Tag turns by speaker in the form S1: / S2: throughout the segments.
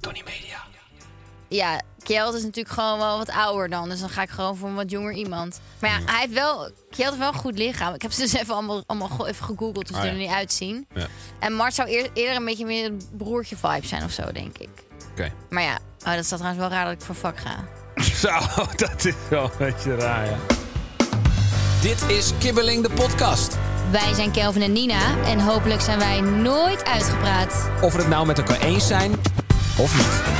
S1: Tony Media.
S2: Ja, Kjeld is natuurlijk gewoon wel wat ouder dan. Dus dan ga ik gewoon voor een wat jonger iemand. Maar ja, hij heeft wel... Kjeld heeft wel een goed lichaam. Ik heb ze dus even allemaal, allemaal go- even gegoogeld hoe ze
S1: Ah,
S2: er
S1: ja.
S2: nu uitzien.
S1: Ja.
S2: En Mart zou eer- eerder een beetje meer een broertje vibe zijn of zo, denk ik.
S1: Oké.
S2: Maar ja, oh, dat staat trouwens wel raar dat ik voor vak ga.
S1: Zo, Oh, dat is wel een beetje raar, ja. Dit is Kibbeling de podcast.
S2: Wij zijn Kelvin en Nina. En hopelijk zijn wij nooit uitgepraat.
S1: Of we het nou met elkaar eens zijn of niet.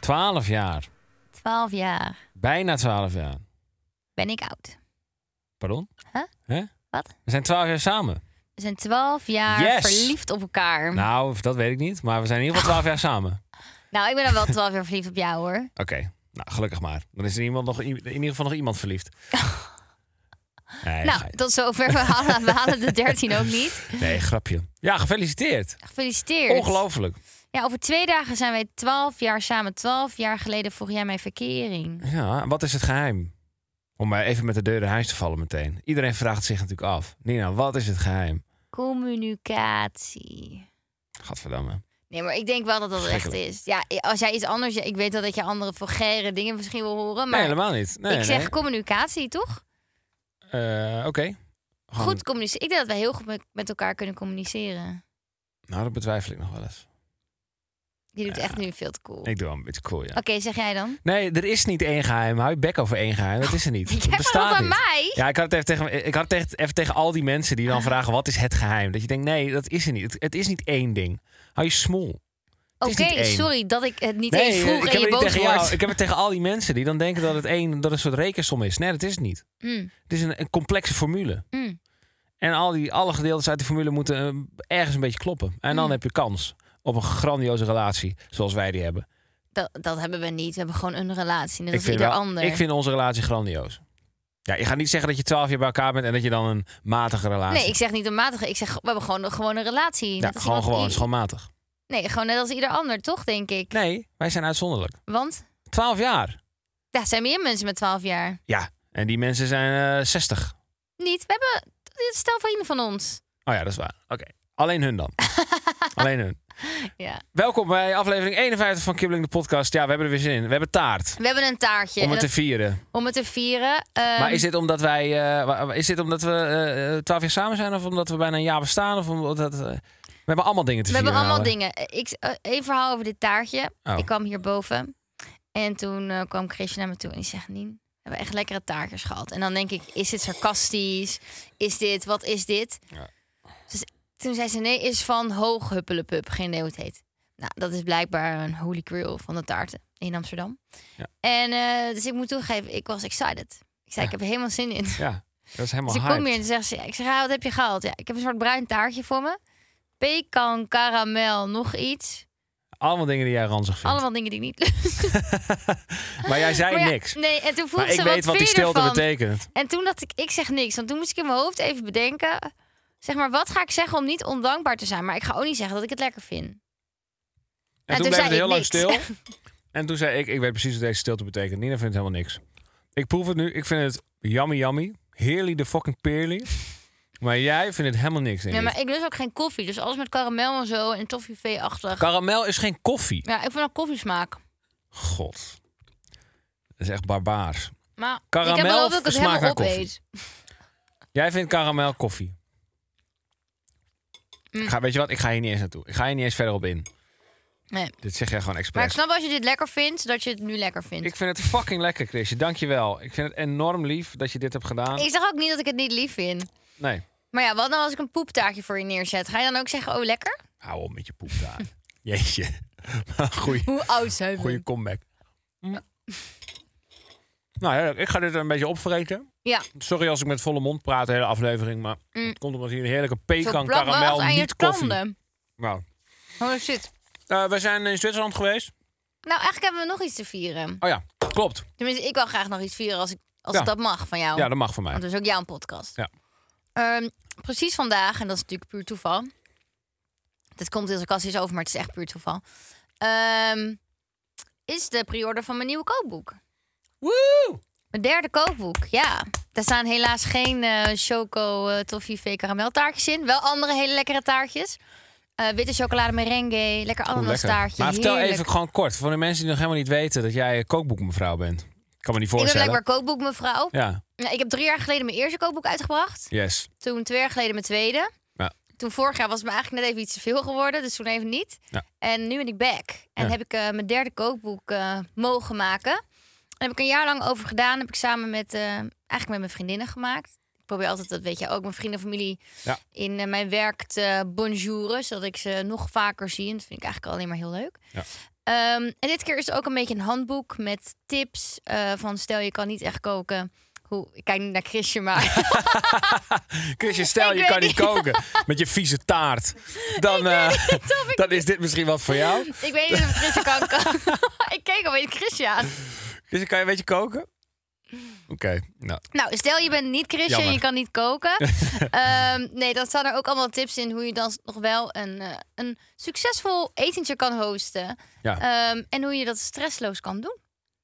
S1: Twaalf jaar.
S2: 12 jaar
S1: Bijna twaalf jaar.
S2: ben ik oud.
S1: Pardon?
S2: Huh?
S1: Hè?
S2: Wat?
S1: We zijn twaalf jaar samen.
S2: We zijn 12 jaar
S1: Yes.
S2: verliefd op elkaar. Nou,
S1: Nou, dat weet ik niet. Maar we zijn in ieder geval twaalf jaar samen.
S2: ik ben dan wel 12 jaar verliefd op jou hoor.
S1: Oké, nou gelukkig maar. Dan is er iemand nog, in ieder geval nog iemand verliefd. Nee,
S2: Nou,
S1: ge-
S2: tot zover. We halen, we halen de 13 ook niet.
S1: nee, grapje. Ja, gefeliciteerd.
S2: Gefeliciteerd.
S1: Ongelooflijk.
S2: Ja, over twee dagen zijn wij 12 jaar samen. 12 jaar geleden vroeg jij mijn verkering.
S1: Ja, wat is het geheim? Om maar even met de deur in huis te vallen meteen. Iedereen vraagt zich natuurlijk af. Nina, wat is het geheim?
S2: Communicatie.
S1: Gadverdamme.
S2: Nee, maar ik denk wel dat dat echt
S1: Schrikkelijk.
S2: is. Ja, als jij iets anders... Ik weet wel dat je andere vulgaire dingen misschien wil horen. Maar
S1: nee, helemaal niet. Nee,
S2: ik zeg
S1: nee.
S2: communicatie, toch?
S1: Eh, Oké. Gewoon-
S2: Goed communiceren. Ik denk dat wij heel goed met- met elkaar kunnen communiceren.
S1: Nou, dat betwijfel ik nog wel eens.
S2: Je doet echt nu veel te cool.
S1: Ik doe wel een beetje cool, ja.
S2: Oké, zeg jij dan?
S1: Nee, er is niet één geheim. Hou je bek over één geheim. Dat is er niet.
S2: Jij
S1: dat bestaat
S2: vroeg aan
S1: niet.
S2: mij? Ah.
S1: Ja, ik had het even tegen, ik had het echt even tegen al die mensen die dan vragen: wat is het geheim? Dat je denkt: nee, dat is er niet. Het, het is niet één ding. Hou je smoel. Het
S2: Oké,
S1: is niet één.
S2: sorry dat ik het niet
S1: Nee,
S2: eens
S1: eh,
S2: vroeg
S1: ik
S2: en
S1: heb,
S2: je
S1: het niet
S2: boos
S1: tegen jou.
S2: wordt.
S1: ik heb het tegen al die mensen die dan denken dat het één, dat het een soort rekensom is. Nee, dat is het niet.
S2: Mm,
S1: Het is een, een complexe formule.
S2: mm.
S1: En al die, alle gedeeltes uit die formule moeten eh, ergens een beetje kloppen. En dan
S2: Mm.
S1: heb je kans op een grandioze relatie zoals wij die hebben.
S2: Dat, dat hebben we niet. We hebben gewoon een relatie. Net als
S1: vind
S2: ieder
S1: wel-
S2: ander.
S1: ik vind onze relatie grandioos. Ja, je gaat niet zeggen dat je twaalf jaar bij elkaar bent en dat je dan een matige relatie
S2: Nee, ik zeg niet een matige. Ik zeg, we hebben gewoon, gewoon een relatie.
S1: Ja,
S2: Net als
S1: gewoon,
S2: iemand-
S1: gewoon,
S2: i-
S1: is gewoon matig.
S2: Nee, gewoon net als ieder ander, toch, denk ik.
S1: Nee, wij zijn uitzonderlijk.
S2: Want
S1: 12 jaar.
S2: daar zijn meer mensen met 12 jaar.
S1: Ja. En die mensen zijn eh 60.
S2: Niet. We hebben dit is stel vrienden van ons.
S1: Oh ja, dat is waar. Oké. Alleen hun dan. Alleen hun.
S2: Ja.
S1: Welkom bij aflevering 51 van Kibbeling de podcast. Ja, we hebben er weer zin in. We hebben taart.
S2: We hebben een taartje
S1: om het
S2: en
S1: te vieren.
S2: dat- om het te vieren. Ehm,
S1: maar is dit omdat wij... eh, wa- wa- is dit omdat we eh, 12 jaar samen zijn? Of omdat we bijna een jaar bestaan? Of omdat... eh, we hebben allemaal dingen te
S2: We hebben
S1: vieren.
S2: allemaal
S1: namelijk.
S2: dingen. Ik, eh, één verhaal over dit taartje.
S1: Oh.
S2: Ik kwam hierboven. En toen eh, kwam Chrisje naar me toe en die zegt... Nien, we hebben echt lekkere taartjes gehad. En dan denk ik, is dit sarcastisch? Is dit, wat is dit?
S1: Ja.
S2: Dus toen zei ze, nee, is van hoog huppelepup. Geen idee hoe het heet. Nou, dat is blijkbaar een holy grail van de taarten in Amsterdam.
S1: Ja.
S2: En eh, dus ik moet toegeven, ik was excited. Ik zei, ik heb er helemaal zin in.
S1: Ja, dat is helemaal
S2: Dus ik
S1: hyped.
S2: kom hier en zegt ze, ja, ik zeg, ah, wat heb je gehaald? Ja, ik heb een soort bruin taartje voor me. Pekan, karamel, nog iets.
S1: Allemaal dingen die jij ranzig vindt.
S2: Allemaal dingen die ik niet lust.
S1: Maar jij zei
S2: Maar ja,
S1: niks.
S2: Nee, en toen vroeg
S1: Maar
S2: ze,
S1: ik
S2: wat
S1: weet wat die
S2: vind je
S1: stilte
S2: ervan?
S1: betekent.
S2: En toen dacht ik, ik zeg niks. Want toen moest ik in mijn hoofd even bedenken. Zeg maar, wat ga ik zeggen om niet ondankbaar te zijn? Maar ik ga ook niet zeggen dat ik het lekker vind.
S1: En
S2: toen
S1: toen
S2: zei
S1: bleef het heel
S2: ik
S1: lang
S2: niks.
S1: stil. En toen zei ik, ik weet precies wat deze stilte betekent. Nina vindt helemaal niks. Ik proef het nu. Ik vind het yummy yummy. Heerly de fucking peerly. Maar jij vindt het helemaal niks.
S2: Nee,
S1: Ingrid.
S2: maar ik lust ook geen koffie. Dus alles met karamel en zo en toffee-achtig.
S1: Karamel is geen koffie.
S2: Ja, ik vind dat koffiesmaak.
S1: God. Dat is echt barbaars.
S2: Maar ik
S1: Karamel
S2: heb beloofd dat ik het
S1: smaakt
S2: helemaal
S1: naar koffie.
S2: opeet.
S1: Jij vindt karamel koffie.
S2: Mm.
S1: Ik ga, weet je wat? Ik ga hier niet eens naartoe. Ik ga hier niet eens verder op in.
S2: Nee.
S1: Dit zeg jij gewoon
S2: Maar ik
S1: expres.
S2: snap als je dit lekker vindt, dat je het nu lekker vindt.
S1: Ik vind het fucking lekker, Chrisje. Dankjewel. Ik vind het enorm lief dat je dit hebt gedaan.
S2: Ik zeg ook niet dat ik het niet lief vind.
S1: Nee.
S2: Maar ja, wat nou als ik een poeptaartje voor je neerzet? Ga je dan ook zeggen, oh lekker?
S1: Hou op met je poep daar. Jeetje. Maar een Goeie,
S2: Hoe oud zijn we?
S1: goeie comeback. Mm. Nou ja, ik ga dit een beetje opvreten.
S2: Ja.
S1: Sorry als ik met volle mond praat de hele aflevering, maar
S2: Mm.
S1: het komt omdat hier een heerlijke
S2: Zo
S1: pekan
S2: plak wel
S1: karamel
S2: echt aan je
S1: niet koffie.
S2: tanden.
S1: Nou,
S2: Holy shit.
S1: Eh, we zijn in Zwitserland geweest.
S2: Nou, eigenlijk hebben we nog iets te vieren.
S1: Oh ja, klopt.
S2: Tenminste, ik wil graag nog iets vieren als, ik, als
S1: Ja.
S2: ik dat mag van jou.
S1: Ja, dat mag van mij.
S2: Want dat is ook jouw podcast.
S1: Ja.
S2: Ehm, precies vandaag, en dat is natuurlijk puur toeval. Dit komt heel sarcastisch over, maar het is echt puur toeval. Ehm, is de pre-order van mijn nieuwe kookboek.
S1: Woe!
S2: Mijn derde kookboek, ja. Daar staan helaas geen eh, choco eh toffee v karameltaartjes in. Wel andere hele lekkere taartjes. Eh, witte chocolade merengue, lekker
S1: Oh,
S2: ananas
S1: lekker.
S2: taartje.
S1: Maar vertel
S2: heerlijk.
S1: even gewoon kort, voor de mensen die nog helemaal niet weten dat jij kookboekmevrouw bent. Ik kan me niet
S2: Ik ben
S1: voorstellen.
S2: blijkbaar kookboek mevrouw.
S1: Ja,
S2: Nou, ik heb drie jaar geleden mijn eerste kookboek uitgebracht.
S1: yes.
S2: Toen twee jaar geleden mijn tweede.
S1: Ja.
S2: Toen vorig jaar was het me eigenlijk net even iets te veel geworden. Dus toen even niet.
S1: Ja.
S2: En nu ben ik back. En
S1: Ja.
S2: heb ik eh, mijn derde kookboek eh, mogen maken. Daar heb ik een jaar lang over gedaan. Heb ik samen met, eh, eigenlijk met mijn vriendinnen gemaakt. Ik probeer altijd, dat weet je ook, mijn vrienden en familie
S1: Ja.
S2: in eh, mijn werk te bonjouren. Zodat ik ze nog vaker zie. En dat vind ik eigenlijk alleen maar heel leuk.
S1: Ja.
S2: Ehm, en dit keer is het ook een beetje een handboek met tips. eh, van stel je kan niet echt koken. Hoe, ik kijk niet naar Chrisje, maar...
S1: Kusje, stel
S2: Ik
S1: je
S2: weet
S1: kan niet
S2: niet.
S1: koken met je vieze taart. Dan, eh, dan is dit misschien wat voor jou.
S2: Ik weet niet of Chrisje kan koken. ik keek alweer Chrisje aan.
S1: Dus kan je een beetje koken? Oké, nou.
S2: Nou, stel je bent niet Chrisje en
S1: Jammer.
S2: je kan niet koken. Ehm, nee, dan staan er ook allemaal tips in hoe je dan nog wel een, eh, een succesvol etentje kan hosten.
S1: Ja.
S2: Ehm, en hoe je dat stressloos kan doen.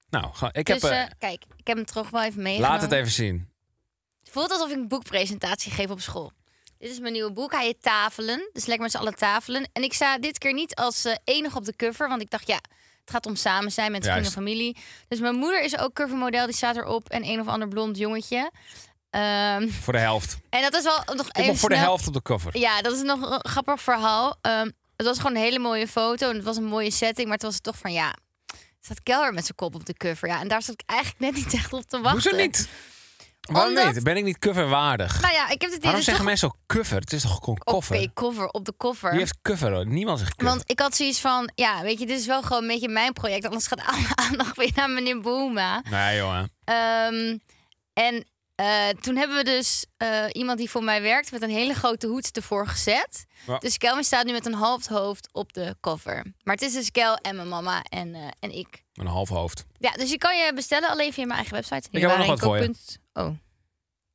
S1: nou ga- ik heb,
S2: dus
S1: eh,
S2: eh, kijk, ik heb hem toch wel even meegenomen.
S1: laat het even zien.
S2: Het voelt alsof ik een boekpresentatie geef op school. Dit is mijn nieuwe boek. Hij heet Tafelen. Dus lekker met z'n allen tafelen. En ik sta dit keer niet als eh, enige op de cover. Want ik dacht, ja, het gaat om samen zijn met vrienden en
S1: Juist.
S2: familie. Dus mijn moeder is ook covermodel. Die staat erop. En een of ander blond jongetje. Ehm,
S1: Voor de helft.
S2: en dat is wel nog
S1: Ik
S2: even
S1: ben voor de
S2: snel-
S1: helft op de cover.
S2: ja, dat is nog een grappig verhaal. Ehm, het was gewoon een hele mooie foto en het was een mooie setting, maar het was toch van ja. er Staat Kelder met zijn kop op de cover. Ja, en daar zat ik eigenlijk net niet echt op te wachten.
S1: Hoezo niet? Waarom
S2: Omdat-
S1: niet? Ben ik niet coverwaardig?
S2: Nou ja, ik heb het
S1: Waarom
S2: dit is
S1: zeggen
S2: toch
S1: mensen ook cover? Het is toch gewoon
S2: Oké,
S1: koffer?
S2: cover op de cover.
S1: Wie heeft cover? hoor? Niemand zegt cover.
S2: Want ik had zoiets van, ja, weet je, dit is wel gewoon een beetje mijn project. Anders gaat alle aandacht weer naar meneer Boema.
S1: Nee, jongen.
S2: Ehm, en eh, toen hebben we dus eh, iemand die voor mij werkt met een hele grote hoed ervoor gezet.
S1: Ja.
S2: Dus Kelvin staat nu met een half hoofd op de cover. Maar het is dus Kel en mijn mama en, eh, en ik.
S1: Een half hoofd.
S2: Ja, dus je kan je bestellen alleen via mijn eigen website.
S1: Ik heb ook nog wat voor je.
S2: Kookpunt- Oh,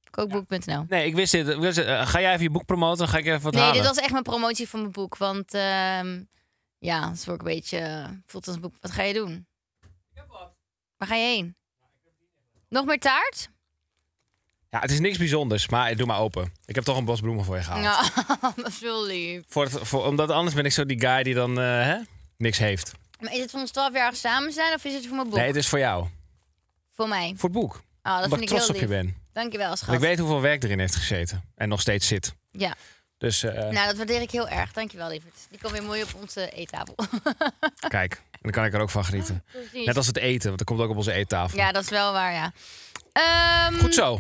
S2: kookboek.nl.
S1: Nee, ik wist dit. ik wist dit. Eh, ga jij even je boek promoten? Dan ga ik even wat
S2: Nee,
S1: halen.
S2: dit was echt mijn promotie van mijn boek. Want ehm, ja, dat word ik een beetje... eh, Voelt als een boek. Wat ga je doen? Waar ga je heen? Nog meer taart?
S1: Ja, het is niks bijzonders, maar doe maar open. Ik heb toch een bos bloemen voor je gehaald.
S2: Ja, dat is wel lief.
S1: Voor het, voor, omdat anders ben ik zo die guy die dan eh, hè, niks heeft.
S2: Maar is het voor ons 12 jaar samen zijn of is het voor mijn boek?
S1: Nee, het is voor jou.
S2: Voor mij.
S1: Voor het boek.
S2: Ah, dat
S1: omdat
S2: vind
S1: ik
S2: ik
S1: trots
S2: heel
S1: op
S2: lief.
S1: je ben.
S2: Dankjewel,
S1: Want
S2: schat.
S1: ik weet hoeveel werk erin heeft gezeten. En nog steeds zit.
S2: Ja.
S1: Dus eh,
S2: Nou, dat waardeer ik heel erg. Dankjewel, lieverd. Die komt weer mooi op onze eettafel.
S1: kijk, en dan kan ik er ook van genieten.
S2: Ah, Precies.
S1: Net als het eten, want dat komt ook op onze eettafel.
S2: Ja, dat is wel waar, ja. Ehm,
S1: Goed zo.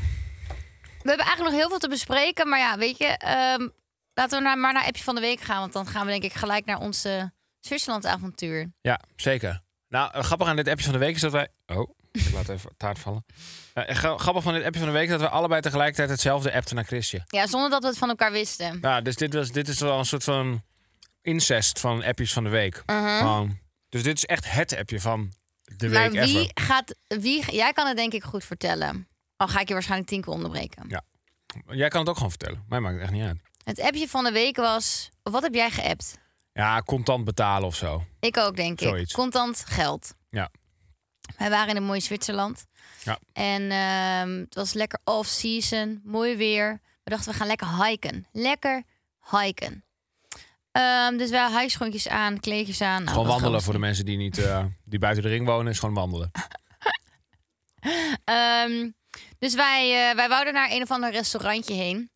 S2: We hebben eigenlijk nog heel veel te bespreken. Maar ja, weet je, ehm, laten we naar, maar naar appje van de week gaan. Want dan gaan we denk ik gelijk naar onze Zwitserland-avontuur.
S1: Ja, zeker. Nou, eh, grappig aan dit appje van de week is dat wij... Oh, ik laat even taart vallen. Eh, gra- grappig van dit appje van de week is dat we allebei tegelijkertijd hetzelfde appten naar Chrisje.
S2: Ja, zonder dat we het van elkaar wisten.
S1: Ja, dus dit, was, dit is wel een soort van incest van appjes van de week. Gewoon. dus dit is echt het appje van de
S2: Uh-huh. Maar
S1: week
S2: wie
S1: ever.
S2: gaat... Wie, jij kan het denk ik goed vertellen. Al ga ik je waarschijnlijk tien keer onderbreken.
S1: Jij kan het ook gewoon vertellen. Mij maakt het echt niet uit.
S2: Het appje van de week was... Wat heb jij geappt?
S1: Ja, contant betalen of zo.
S2: Ik ook, denk
S1: Zoiets.
S2: ik. Contant geld.
S1: Ja.
S2: Wij waren in een mooi Zwitserland.
S1: Ja.
S2: En ehm, het was lekker off-season, mooi weer. We dachten, we gaan lekker hiken. Lekker hiken. Ehm, dus wij huisgrondjes aan, kleedjes aan. Nou,
S1: gewoon
S2: dat
S1: wandelen
S2: gaan
S1: voor de
S2: we
S1: mensen die, niet, eh, die buiten de ring wonen. Is gewoon wandelen.
S2: zien. Ehm, dus wij, eh, wij wouden naar een of ander restaurantje heen.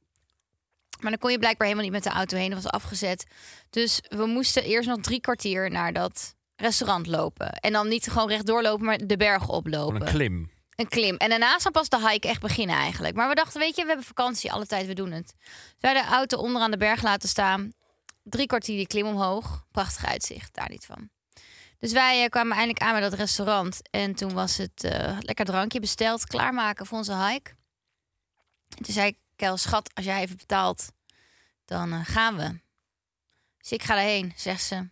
S2: Maar dan kon je blijkbaar helemaal niet met de auto heen. Dat was afgezet. Dus we moesten eerst nog drie kwartier naar dat restaurant lopen. En dan niet gewoon rechtdoor lopen, maar de berg
S1: Gewoon een
S2: oplopen.
S1: klim.
S2: een klim. En daarna zou pas de hike echt beginnen eigenlijk. Maar we dachten, weet je, we hebben vakantie, alle tijd, we doen het. Dus wij de auto onderaan de berg laten staan. Drie kwartier die klim omhoog. Prachtig uitzicht, daar niet van. Dus wij eh, kwamen eindelijk aan bij dat restaurant. En toen was het eh, lekker drankje besteld, klaarmaken voor onze hike. En toen zei ik, Kel, schat, als jij even betaalt, dan eh, gaan we. Dus ik ga daarheen, zegt ze.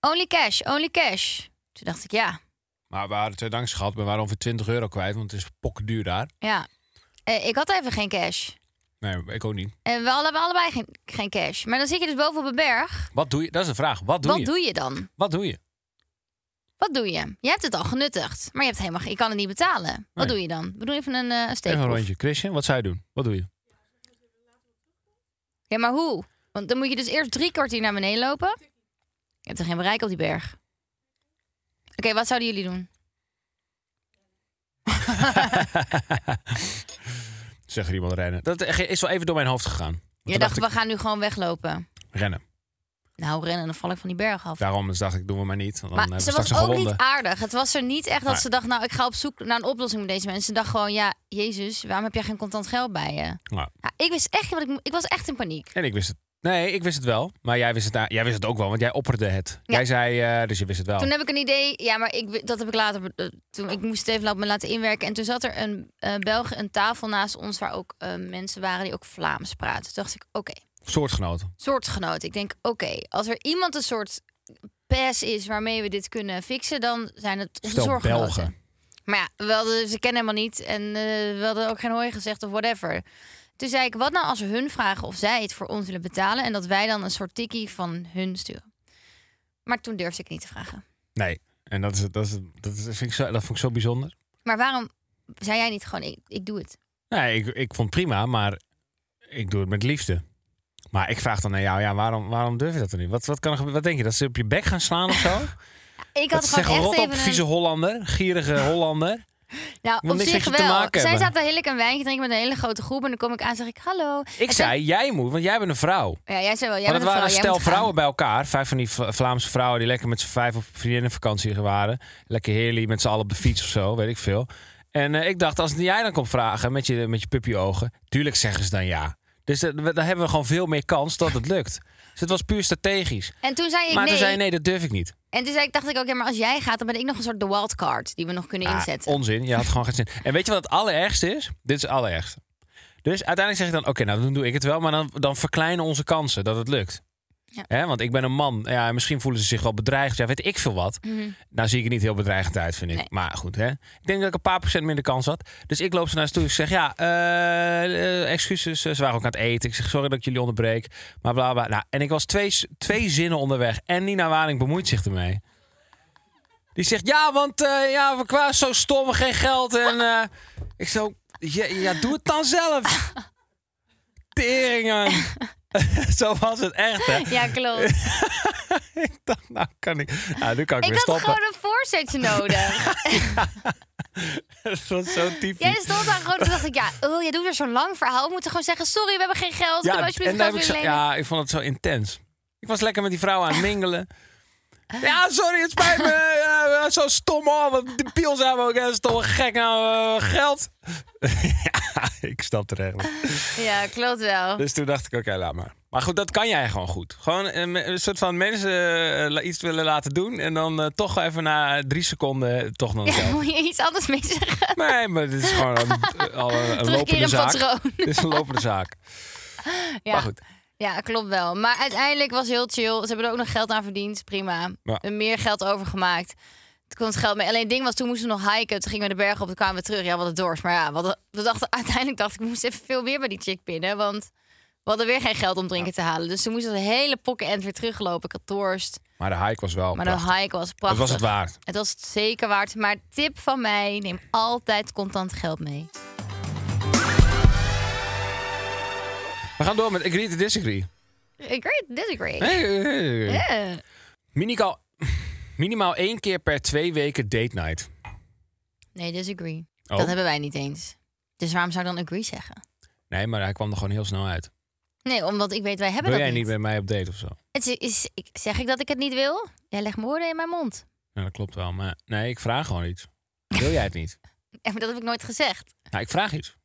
S2: Only cash, only cash. Toen dacht ik, ja,
S1: Maar we hadden twee dankjes gehad, maar we waren ongeveer 20 euro kwijt, want het is pokduur daar.
S2: ja. Eh, ik had even geen cash.
S1: Nee, ik ook niet.
S2: En we hadden allebei geen, geen cash. Maar dan zit je dus boven op een berg.
S1: Wat doe je? Dat is de vraag. Wat doe
S2: Wat
S1: je?
S2: doe je dan?
S1: Wat doe je?
S2: Wat doe je? Je hebt het al genuttigd, maar je, hebt helemaal, ge- je kan het niet betalen. Wat
S1: Nee.
S2: doe je dan? We doen even een, eh, een
S1: Even een
S2: steekproef.
S1: rondje. Christian, wat zou je doen? Wat doe je?
S2: Ja, maar hoe? Want dan moet je dus eerst drie kwartier naar beneden lopen. Je hebt er geen bereik op die berg. Oké, wat zouden jullie doen?
S1: Zegt er iemand rennen. Dat eh, is wel even door mijn hoofd gegaan. Want
S2: Je
S1: toen
S2: dacht,
S1: ik,
S2: we gaan nu gewoon weglopen.
S1: rennen.
S2: Nou, rennen, dan val ik van die berg af.
S1: Daarom dus dacht ik, doen we maar niet. want Dan
S2: maar
S1: hebben
S2: ze
S1: we straks
S2: was
S1: een
S2: ook
S1: gewonde.
S2: niet aardig. Het was er niet echt dat
S1: Nee.
S2: ze dacht, nou, ik ga op zoek naar een oplossing met deze mensen. Ze dacht gewoon, ja, Jezus, waarom heb jij geen contant geld bij je?
S1: Nou,
S2: Ja, ik wist echt wat ik mo- Ik was echt in paniek.
S1: en ik wist het. Nee, ik wist het wel. Maar jij wist het, daar- jij wist het ook wel, want jij opperde het.
S2: Ja.
S1: Jij zei, eh, dus je wist het wel.
S2: Toen heb ik een idee, ja, maar ik, wi- dat heb ik later. be- eh, Toen, ik moest het even laten- me laten inwerken. En toen zat er een eh Belg een tafel naast ons waar ook eh, mensen waren die ook Vlaams praten. Toen dacht ik, oké,
S1: Soortgenoten.
S2: soortgenoot. Ik denk, oké, als er iemand een soort pass is waarmee we dit kunnen fixen, dan zijn het onze
S1: Stel
S2: zorggenoten.
S1: Belgen.
S2: Maar ja, we hadden, ze kennen helemaal niet en eh, we hadden ook geen hooi gezegd of whatever. Toen zei ik, wat nou als we hun vragen of zij het voor ons willen betalen en dat wij dan een soort tikkie van hun sturen. Maar toen durfde ik niet te vragen.
S1: Nee. En dat, is, het- dat, is, het- dat, is, vind ik zo, dat vond ik zo bijzonder.
S2: Maar waarom zei jij niet gewoon, ik, ik doe het?
S1: Nee, ik, ik vond het prima, maar ik doe het met liefde. Maar ik vraag dan aan jou, ja, waarom, waarom durf je dat dan niet? Wat, wat, kan er, gebeuren? wat denk je, dat ze op je bek gaan slaan of zo?
S2: Ik
S1: dat
S2: had gewoon
S1: ze zeggen,
S2: echt
S1: rot op,
S2: even een-
S1: vieze Hollander, gierige Hollander.
S2: Nou,
S1: wil
S2: op
S1: niks
S2: zich
S1: met je te
S2: wel.
S1: maken
S2: Zij
S1: hebben.
S2: zaten heerlijk een wijntje drinken met een hele grote groep. En dan kom ik aan en zeg ik, hallo. En
S1: Ik
S2: toen-
S1: zei, jij moet, want jij bent een vrouw.
S2: Ja, jij zei wel, jij bent een
S1: maar dat waren
S2: vrouw,
S1: een
S2: jij
S1: stel
S2: moet gaan.
S1: vrouwen bij elkaar. Vijf van die Vla- Vlaamse vrouwen die lekker met z'n vijf op vriendinnenvakantie waren. Lekker heerlijk met z'n allen op de fiets of zo, weet ik veel. En eh, ik dacht, als jij dan komt vragen met je, met je puppyogen, tuurlijk zeggen ze dan ja. Dus dat, we- dan hebben we gewoon veel meer kans dat het lukt. Dus het was puur strategisch.
S2: En toen zei ik
S1: Maar
S2: nee.
S1: toen zei je, nee, dat durf ik niet.
S2: En toen zei ik, dacht ik, oké, maar als jij gaat, dan ben ik nog een soort de wildcard die we nog kunnen
S1: Ah,
S2: inzetten.
S1: onzin, je had gewoon geen zin. En weet je wat het allerergste is? Dit is het allerergste. Dus uiteindelijk zeg ik dan, oké, nou dan doe ik het wel. Maar dan, dan verkleinen onze kansen dat het lukt.
S2: Ja.
S1: Hè, want ik ben een man. Ja, en misschien voelen ze zich wel bedreigd. Ja, weet ik veel wat.
S2: Mhm.
S1: Nou zie ik er niet heel bedreigend uit, vind ik.
S2: Nee.
S1: Maar goed, hè. Ik denk dat ik een paar procent minder kans had. Dus ik loop ze naar ze toe. Ik zeg, ja, eh, eh, excuses. Ze waren ook aan het eten. Ik zeg, sorry dat ik jullie onderbreek. Maar bla, bla. Nou, en ik was twee, twee zinnen onderweg. En Nina Waring bemoeit zich ermee. Die zegt, ja, want eh, ja, we kwamen zo stom, geen geld. En eh, ik zo, ja, ja, doe het dan zelf. Teringen. zo was het echt, hè.
S2: Ja, klopt.
S1: Ik dacht, nou kan ik... Nou, nu kan ik,
S2: ik
S1: weer
S2: had
S1: stoppen.
S2: gewoon een voorzetje nodig.
S1: Het was zo typisch.
S2: Jij stond daar gewoon, toen dacht ik, ja, oh, jij doet weer zo'n lang verhaal. We moeten gewoon zeggen, sorry, we hebben geen geld. Ja, alsjeblieft
S1: en daar
S2: geld
S1: heb ik zo-
S2: willen lenen?
S1: ja, ik vond het zo intens. Ik was lekker met die vrouw aan het mingelen. Ja, sorry, het spijt me. Ja, zo stom, oh, wat debiel zijn we ook. Dat is toch wel gek, nou, eh, geld. ja, ik snap er echt niet.
S2: Ja, klopt wel.
S1: Dus toen dacht ik, oké, laat maar. Maar goed, dat kan jij gewoon goed. Gewoon eh, een, een soort van mensen eh, la- iets willen laten doen... en dan eh, toch even na drie seconden eh, toch nog zelf.
S2: Moet je iets anders mee zeggen?
S1: Nee, maar dit is gewoon een, eh, al een, een lopende
S2: Terugkeren
S1: zaak.
S2: patroon.
S1: Dit is een lopende zaak.
S2: Ja.
S1: Maar goed.
S2: ja, klopt wel. Maar uiteindelijk was heel chill. Ze hebben er ook nog geld aan verdiend. Prima.
S1: Ja.
S2: En Meer geld overgemaakt. Het kon het geld mee. Alleen het ding was, toen moesten we nog hiken. Toen gingen we de berg op, toen kwamen we terug. Ja, wat het dorst. Maar ja, we hadden- we dachten, uiteindelijk dacht ik, we moesten even veel meer bij die chick pinnen. Want we hadden weer geen geld om drinken te halen. Dus toen moesten we de hele pokken end weer teruglopen. Ik had dorst.
S1: Maar de hike was wel
S2: Maar
S1: prachtig.
S2: de hike was
S1: Dat
S2: prachtig.
S1: was het waard.
S2: Het was het zeker waard. Maar tip van mij, neem altijd contant geld mee.
S1: We gaan door met Agree to Disagree.
S2: Agree, disagree.
S1: Hey, hey, hey.
S2: Ja.
S1: Minimaal, minimaal één keer per twee weken date night.
S2: Nee, disagree.
S1: Oh.
S2: Dat hebben wij niet eens. Dus waarom zou ik dan agree zeggen?
S1: Nee, maar hij kwam er gewoon heel snel uit.
S2: Nee, omdat ik weet, wij hebben
S1: Wil
S2: dat
S1: jij
S2: niet.
S1: niet met mij op date of zo?
S2: Het is, is- ik, zeg ik dat ik het niet wil? Jij legt moorden in mijn mond.
S1: Nou, dat klopt wel. Maar nee, ik vraag gewoon iets. Wil jij het niet?
S2: Ja, maar dat heb ik nooit gezegd.
S1: Nou, ik vraag iets.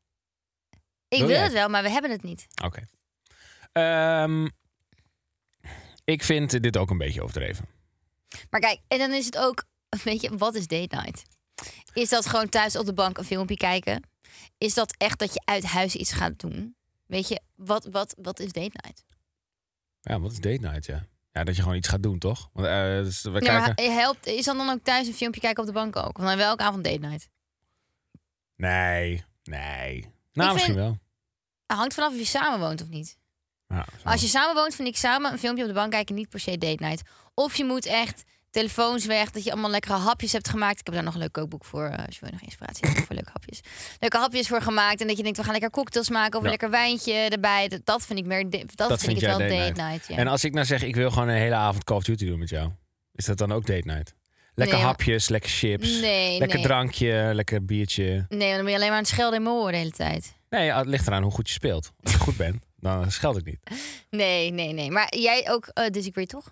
S2: Ik
S1: Wil
S2: wil,
S1: jij?
S2: het wel, maar we hebben het niet.
S1: Oké. Ehm, ik vind dit ook een beetje overdreven.
S2: Maar kijk, en dan is het ook, weet je, wat is date night? Is dat gewoon thuis op de bank een filmpje kijken? Is dat echt dat je uit huis iets gaat doen? Weet je, wat, wat, wat is date night?
S1: Ja, wat is date night, ja. Ja, dat je gewoon iets gaat doen, toch? Want, eh, dus we
S2: Ja,
S1: kijken...
S2: maar he- helpt, is dat dan ook thuis een filmpje kijken op de bank ook? Want dan welke avond date night?
S1: Nee, nee. Nou,
S2: vind-
S1: misschien wel.
S2: Het hangt vanaf of je samen woont of niet.
S1: Ja, zo.
S2: Als je samen woont, vind ik samen een filmpje op de bank kijken niet per se date night. Of je moet echt telefoons weg, dat je allemaal lekkere hapjes hebt gemaakt. Ik heb daar nog een leuk kookboek voor, eh, als je wil nog inspiratie hebt voor leuke hapjes. Leuke hapjes voor gemaakt en dat je denkt, we gaan lekker cocktails maken of
S1: Ja.
S2: een lekker wijntje erbij. Dat, dat vind ik meer, da- dat,
S1: Dat
S2: vind ik
S1: vind
S2: het wel
S1: jij
S2: date
S1: date
S2: night. ja.
S1: En als ik nou zeg, ik wil gewoon een hele avond Call of Duty doen met jou. Is dat dan ook date night? Lekker
S2: Nee, maar-
S1: hapjes, lekker chips.
S2: Nee,
S1: lekker
S2: nee.
S1: drankje, lekker biertje.
S2: Nee, want dan ben je alleen maar aan het schelden in mijn oren de hele tijd.
S1: Nee, het ligt eraan hoe goed je speelt. Als je goed bent, dan scheld ik niet.
S2: Nee, nee, nee. Maar jij ook eh, disagree, toch?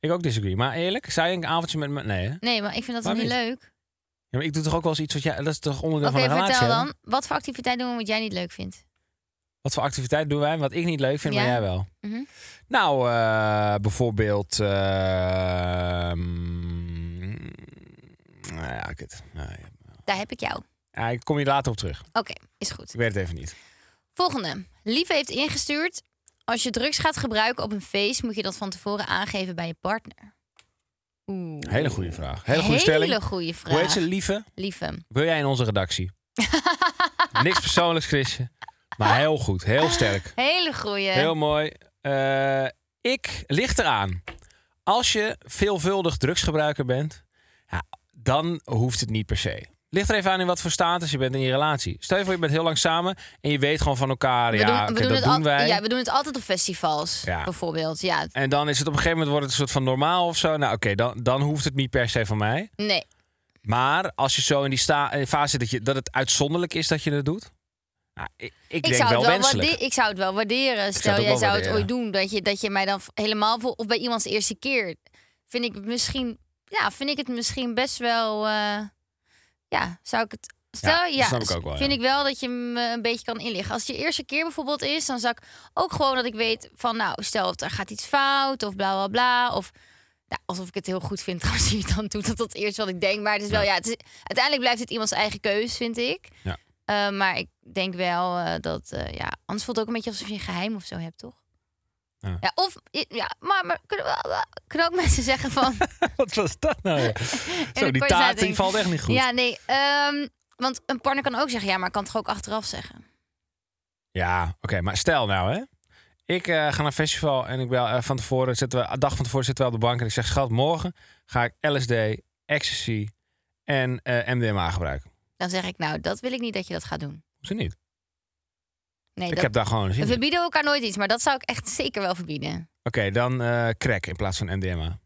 S1: Ik ook disagree. Maar eerlijk, zou je een avondje met me... Nee, hè? Ja,
S2: Nee, maar ik vind dat
S1: Waarom
S2: niet
S1: niet?
S2: leuk.
S1: maar ik doe toch ook wel eens iets wat jij... Dat is toch onderdeel
S2: Oké,
S1: van een relatie?
S2: vertel
S1: hè?
S2: dan. Wat voor activiteit doen we wat jij niet leuk vindt?
S1: Wat voor activiteit doen wij wat ik niet leuk vind,
S2: Ja.
S1: maar jij wel?
S2: Mhm.
S1: Nou, eh, bijvoorbeeld... eh, mm, nou ja, kut. Nou, ja.
S2: Daar heb ik jou. Oké,
S1: Ja, ik kom hier later op terug.
S2: is goed.
S1: Ik weet het even niet.
S2: Volgende. Lieve heeft ingestuurd. Als je drugs gaat gebruiken op een feest, moet je dat van tevoren aangeven bij je partner. Oeh.
S1: Hele goede vraag. Hele goede stelling.
S2: Hele goede
S1: Hoe heet ze,
S2: vraag.
S1: lieve?
S2: Lieve.
S1: Wil jij in onze redactie? Niks persoonlijks, Chrisje. Maar heel goed. Heel sterk.
S2: Hele goede.
S1: Heel mooi. Eh, ik ligt eraan. Als je veelvuldig drugsgebruiker bent, ja, dan hoeft het niet per se. Ligt er even aan in wat voor status je bent in je relatie. Stel je voor, je bent heel lang samen en je weet gewoon van elkaar. ja, oké, dat
S2: het
S1: doen
S2: al-
S1: wij.
S2: ja, we doen het altijd op festivals,
S1: Ja.
S2: bijvoorbeeld. Ja,
S1: En dan is het op een gegeven moment wordt het een soort van normaal of zo. Nou, oké, dan, dan hoeft het niet per se van mij.
S2: nee.
S1: Maar als je zo in die sta- eh, fase zit dat, je, dat het uitzonderlijk is dat je dat doet. Nou, ik, ik
S2: Ik
S1: denk
S2: zou,
S1: wel
S2: het wel
S1: wenselijk.
S2: waarde- ik zou het wel waarderen. Stel,
S1: het ook
S2: jij
S1: wel
S2: zou het
S1: waarderen.
S2: ooit doen. Dat je, dat je mij dan v- helemaal vol. Of bij iemands eerste keer. Vind ik het misschien. Ja, vind ik het misschien best wel. eh, ja, zou ik het. Stel,
S1: Ja,
S2: ja,
S1: dat snap ik ook wel,
S2: vind
S1: ja.
S2: ik wel dat je me een beetje kan inlichten. Als het je eerste keer bijvoorbeeld is, dan zou ik ook gewoon dat ik weet van, nou, stel of er gaat iets fout of bla bla bla. Of nou, alsof ik het heel goed vind, trouwens, die het dan doet dat dat eerst wat ik denk. Maar het is wel, ja, het is, uiteindelijk blijft het iemands eigen keus, vind ik.
S1: Ja.
S2: Eh, maar ik denk wel eh, dat, eh, ja, anders voelt het ook een beetje alsof je een geheim of zo hebt, toch?
S1: Ja.
S2: Ja, of, ja, maar, maar kunnen, we- kunnen ook mensen zeggen van...
S1: Wat was dat nou? weer? zo, die
S2: korte
S1: taart
S2: zaadring.
S1: die valt echt niet goed. Ja,
S2: Ja, nee, ehm, want een partner kan ook zeggen, ja, maar ik kan toch ook achteraf zeggen.
S1: oké, maar stel nou hè. Ik eh, ga naar een festival en ik bel eh, van tevoren, zitten we, een dag van tevoren zitten we op de bank en ik zeg, schat, morgen ga ik LSD, ecstasy en eh, MDMA gebruiken.
S2: Dan zeg ik, nou, dat wil ik niet dat je dat gaat doen.
S1: Hoezo niet?
S2: Nee,
S1: ik
S2: dat,
S1: heb daar gewoon zin
S2: we
S1: in. Oké,
S2: verbieden elkaar nooit iets, maar dat zou ik echt zeker wel verbieden.
S1: dan eh, crack in plaats van MDMA.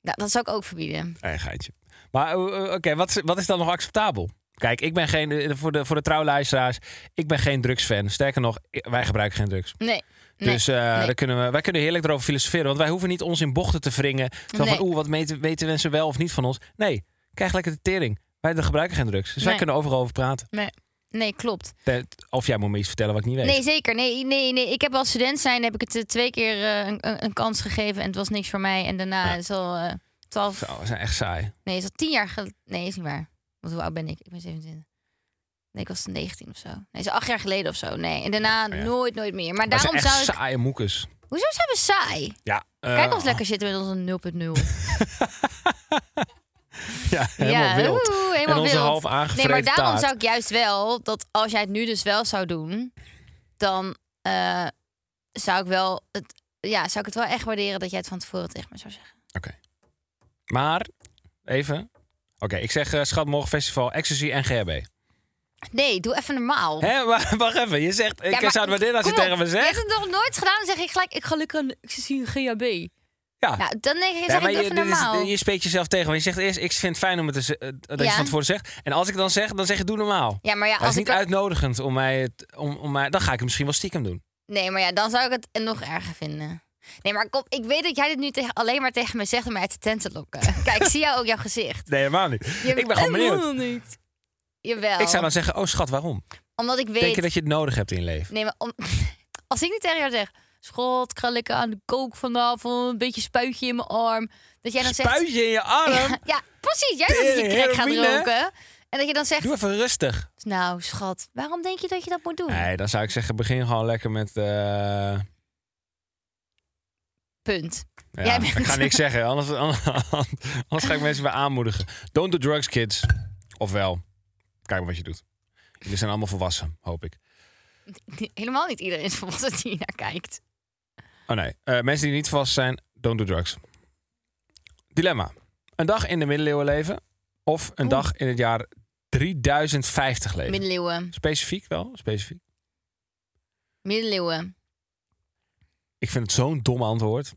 S2: Nou, dat zou ik ook verbieden.
S1: Eigenheidje. Maar eh, eh, oké, wat, is- wat is dan nog acceptabel? Kijk, ik ben geen, eh, voor de, voor de trouwluisteraars, ik ben geen drugsfan. Sterker nog, ik- wij gebruiken geen drugs.
S2: Nee. nee.
S1: dus eh,
S2: nee.
S1: daar kunnen we, wij kunnen heerlijk erover filosoferen. Want wij hoeven niet ons in bochten te wringen. Zo
S2: Nee.
S1: van, oeh, wat meten, weten mensen wel of niet van ons? Nee, krijg lekker de tering. Wij gebruiken geen drugs. Dus wij
S2: Nee.
S1: kunnen overal over praten.
S2: nee. Nee, klopt.
S1: Te- Of jij moet me iets vertellen wat ik niet weet.
S2: Nee, zeker. Nee, nee, nee. Ik heb als student zijn, heb ik het eh, twee keer eh, een, een- een kans gegeven en het was niks voor mij. En daarna
S1: Ja.
S2: is al eh, twaalf,
S1: Zo, we zijn echt saai.
S2: nee, is al tien jaar geleden. Nee, is niet waar. Want hoe oud ben ik? Ik ben 27. Nee, ik was 19 of zo. Nee, is acht jaar geleden of zo. Nee, en daarna
S1: Oh ja.
S2: nooit, nooit meer. Maar
S1: Wij zijn
S2: daarom
S1: echt
S2: zou ik...
S1: saaie moekers.
S2: Hoezo zijn we saai?
S1: Ja. eh,
S2: Kijk ons lekker zitten met onze 0.0.
S1: Ja, helemaal wild.
S2: oeh, helemaal
S1: en onze
S2: wild.
S1: half aangevreten
S2: Nee, maar daarom
S1: taart.
S2: zou ik juist wel dat als jij het nu dus wel zou doen, dan eh, zou ik wel het, ja, zou ik het wel echt waarderen dat jij het van tevoren tegen me zou zeggen.
S1: Maar, even. Oké, ik zeg eh, schat morgen festival, ecstasy en GHB.
S2: Nee, doe even normaal.
S1: Hé, wa- wacht even. Je zegt, ik
S2: Ja, maar-
S1: zou het waarderen als je
S2: kom
S1: tegen
S2: op,
S1: me
S2: Je
S1: zegt.
S2: hebt het nog nooit gedaan, dan zeg ik gelijk, ik ga lekker een, ik zie een GHB.
S1: Ja.
S2: Nou, dan denk ik,
S1: Ja,
S2: zeg
S1: maar
S2: ik
S1: je,
S2: doe even
S1: dit is-
S2: normaal.
S1: je spreekt jezelf tegen. Want je zegt eerst, ik vind het fijn om het te, ze- eh, dat je
S2: Ja.
S1: van tevoren zegt. En als ik dan zeg, dan zeg je doe normaal.
S2: ja, maar ja,
S1: Dat is
S2: als ik
S1: niet
S2: dan-
S1: uitnodigend om mij, het- om, om mij... Dan ga ik het misschien wel stiekem doen.
S2: Nee, maar ja, dan zou ik het nog erger vinden. Nee, maar kom, ik weet dat jij dit nu tegen, alleen maar tegen me zegt om mij uit de tent te lokken. Kijk, ik zie jou ook jouw gezicht.
S1: Nee, helemaal niet.
S2: Je-
S1: ik ben gewoon benieuwd.
S2: Helemaal niet. Jawel.
S1: Ik zou dan zeggen, oh schat, waarom?
S2: Omdat ik weet...
S1: Denk je dat je het nodig hebt in je leven?
S2: Nee, maar om... als ik nu tegen jou zeg... Schot, kralikken aan de kook vanavond. Een beetje spuitje in mijn arm. Dat jij dan zegt...
S1: Spuitje in je arm.
S2: Ja, ja, precies. Jij zegt dat je
S1: Tering,
S2: crack gaat
S1: heroïne.
S2: roken. En dat je dan zegt...
S1: Doe even rustig.
S2: Nou, schat, waarom denk je dat je dat moet doen?
S1: Nee, dan zou ik zeggen, begin gewoon lekker met... eh,
S2: Punt.
S1: ja,
S2: Jij bent-
S1: Ik ga niks zeggen, anders, anders, ga ik mensen bij aanmoedigen. Don't do drugs, kids. Ofwel, kijk maar wat je doet. Jullie zijn allemaal volwassen, hoop ik.
S2: Helemaal niet iedereen is volwassen die hier naar kijkt.
S1: Oh nee, Eh, mensen die niet vast zijn, don't do drugs. Dilemma. Een dag in de middeleeuwen leven of een
S2: Oeh.
S1: dag in het jaar 3050 leven?
S2: Middeleeuwen.
S1: Specifiek wel, specifiek.
S2: Middeleeuwen.
S1: Ik vind het zo'n dom antwoord.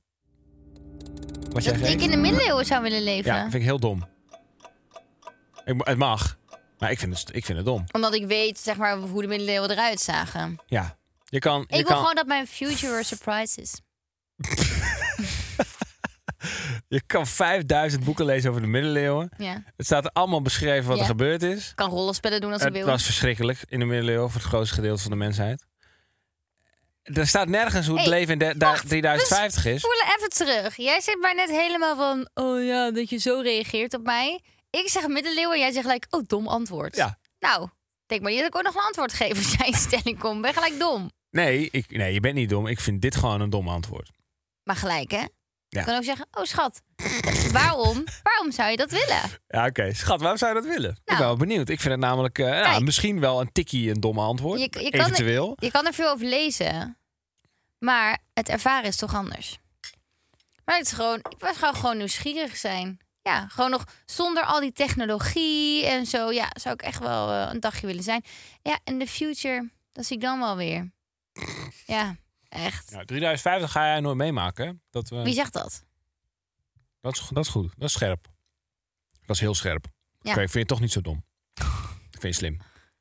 S1: Wat jij
S2: Dat
S1: geeft.
S2: ik in de middeleeuwen zou willen leven.
S1: Ja, vind ik heel dom. Ik, mo- het mag, maar ik vind het, ik vind het dom.
S2: Omdat ik weet, zeg maar, hoe de middeleeuwen eruit zagen.
S1: Ja, je kan...
S2: Ik
S1: je
S2: wil
S1: kan...
S2: gewoon dat mijn future a surprise is.
S1: Je kan 5000 boeken lezen over de middeleeuwen.
S2: Ja.
S1: Het staat er allemaal beschreven wat
S2: Ja.
S1: er gebeurd is.
S2: Ik kan rollenspellen doen als ik
S1: Het
S2: wil.
S1: was verschrikkelijk in de middeleeuwen voor het grootste gedeelte van de mensheid. Er staat nergens hoe het
S2: Hey,
S1: leven in de- da-
S2: wacht,
S1: 3050
S2: We
S1: is.
S2: spoelen even terug. Jij zit maar net helemaal van, oh ja, dat je zo reageert op mij. Ik zeg middeleeuwen en jij zegt gelijk, oh, dom antwoord.
S1: Ja.
S2: Nou, denk maar niet dat ik ook nog een antwoord geef als jij in stelling komt. Ben gelijk dom.
S1: Nee, ik, nee, je bent niet dom. Ik vind dit gewoon een dom antwoord.
S2: Maar gelijk, hè?
S1: Ja.
S2: Je kan ook zeggen, oh schat, waarom, waarom zou je dat willen?
S1: Ja, oké. Schat, waarom zou je dat willen? Ik ben
S2: Nou.
S1: wel benieuwd. Ik vind het namelijk eh, nou,
S2: Kijk.
S1: misschien wel een tikkie een domme antwoord.
S2: Je- je kan-
S1: eventueel.
S2: Je kan er veel over lezen, maar het ervaren is toch anders. Maar het is gewoon, ik was gewoon, gewoon nieuwsgierig zijn. Ja, gewoon nog zonder al die technologie en zo. Ja, zou ik echt wel eh, een dagje willen zijn. Ja, en de future, dat zie ik dan wel weer. Ja, echt.
S1: Nou, 3050 ga jij nooit meemaken. hè? Dat, we.
S2: Wie zegt dat?
S1: Dat is, dat is goed. Dat is scherp. Dat is heel scherp. Oké,
S2: Ja.
S1: ik vind je toch niet zo dom. Ik vind je slim.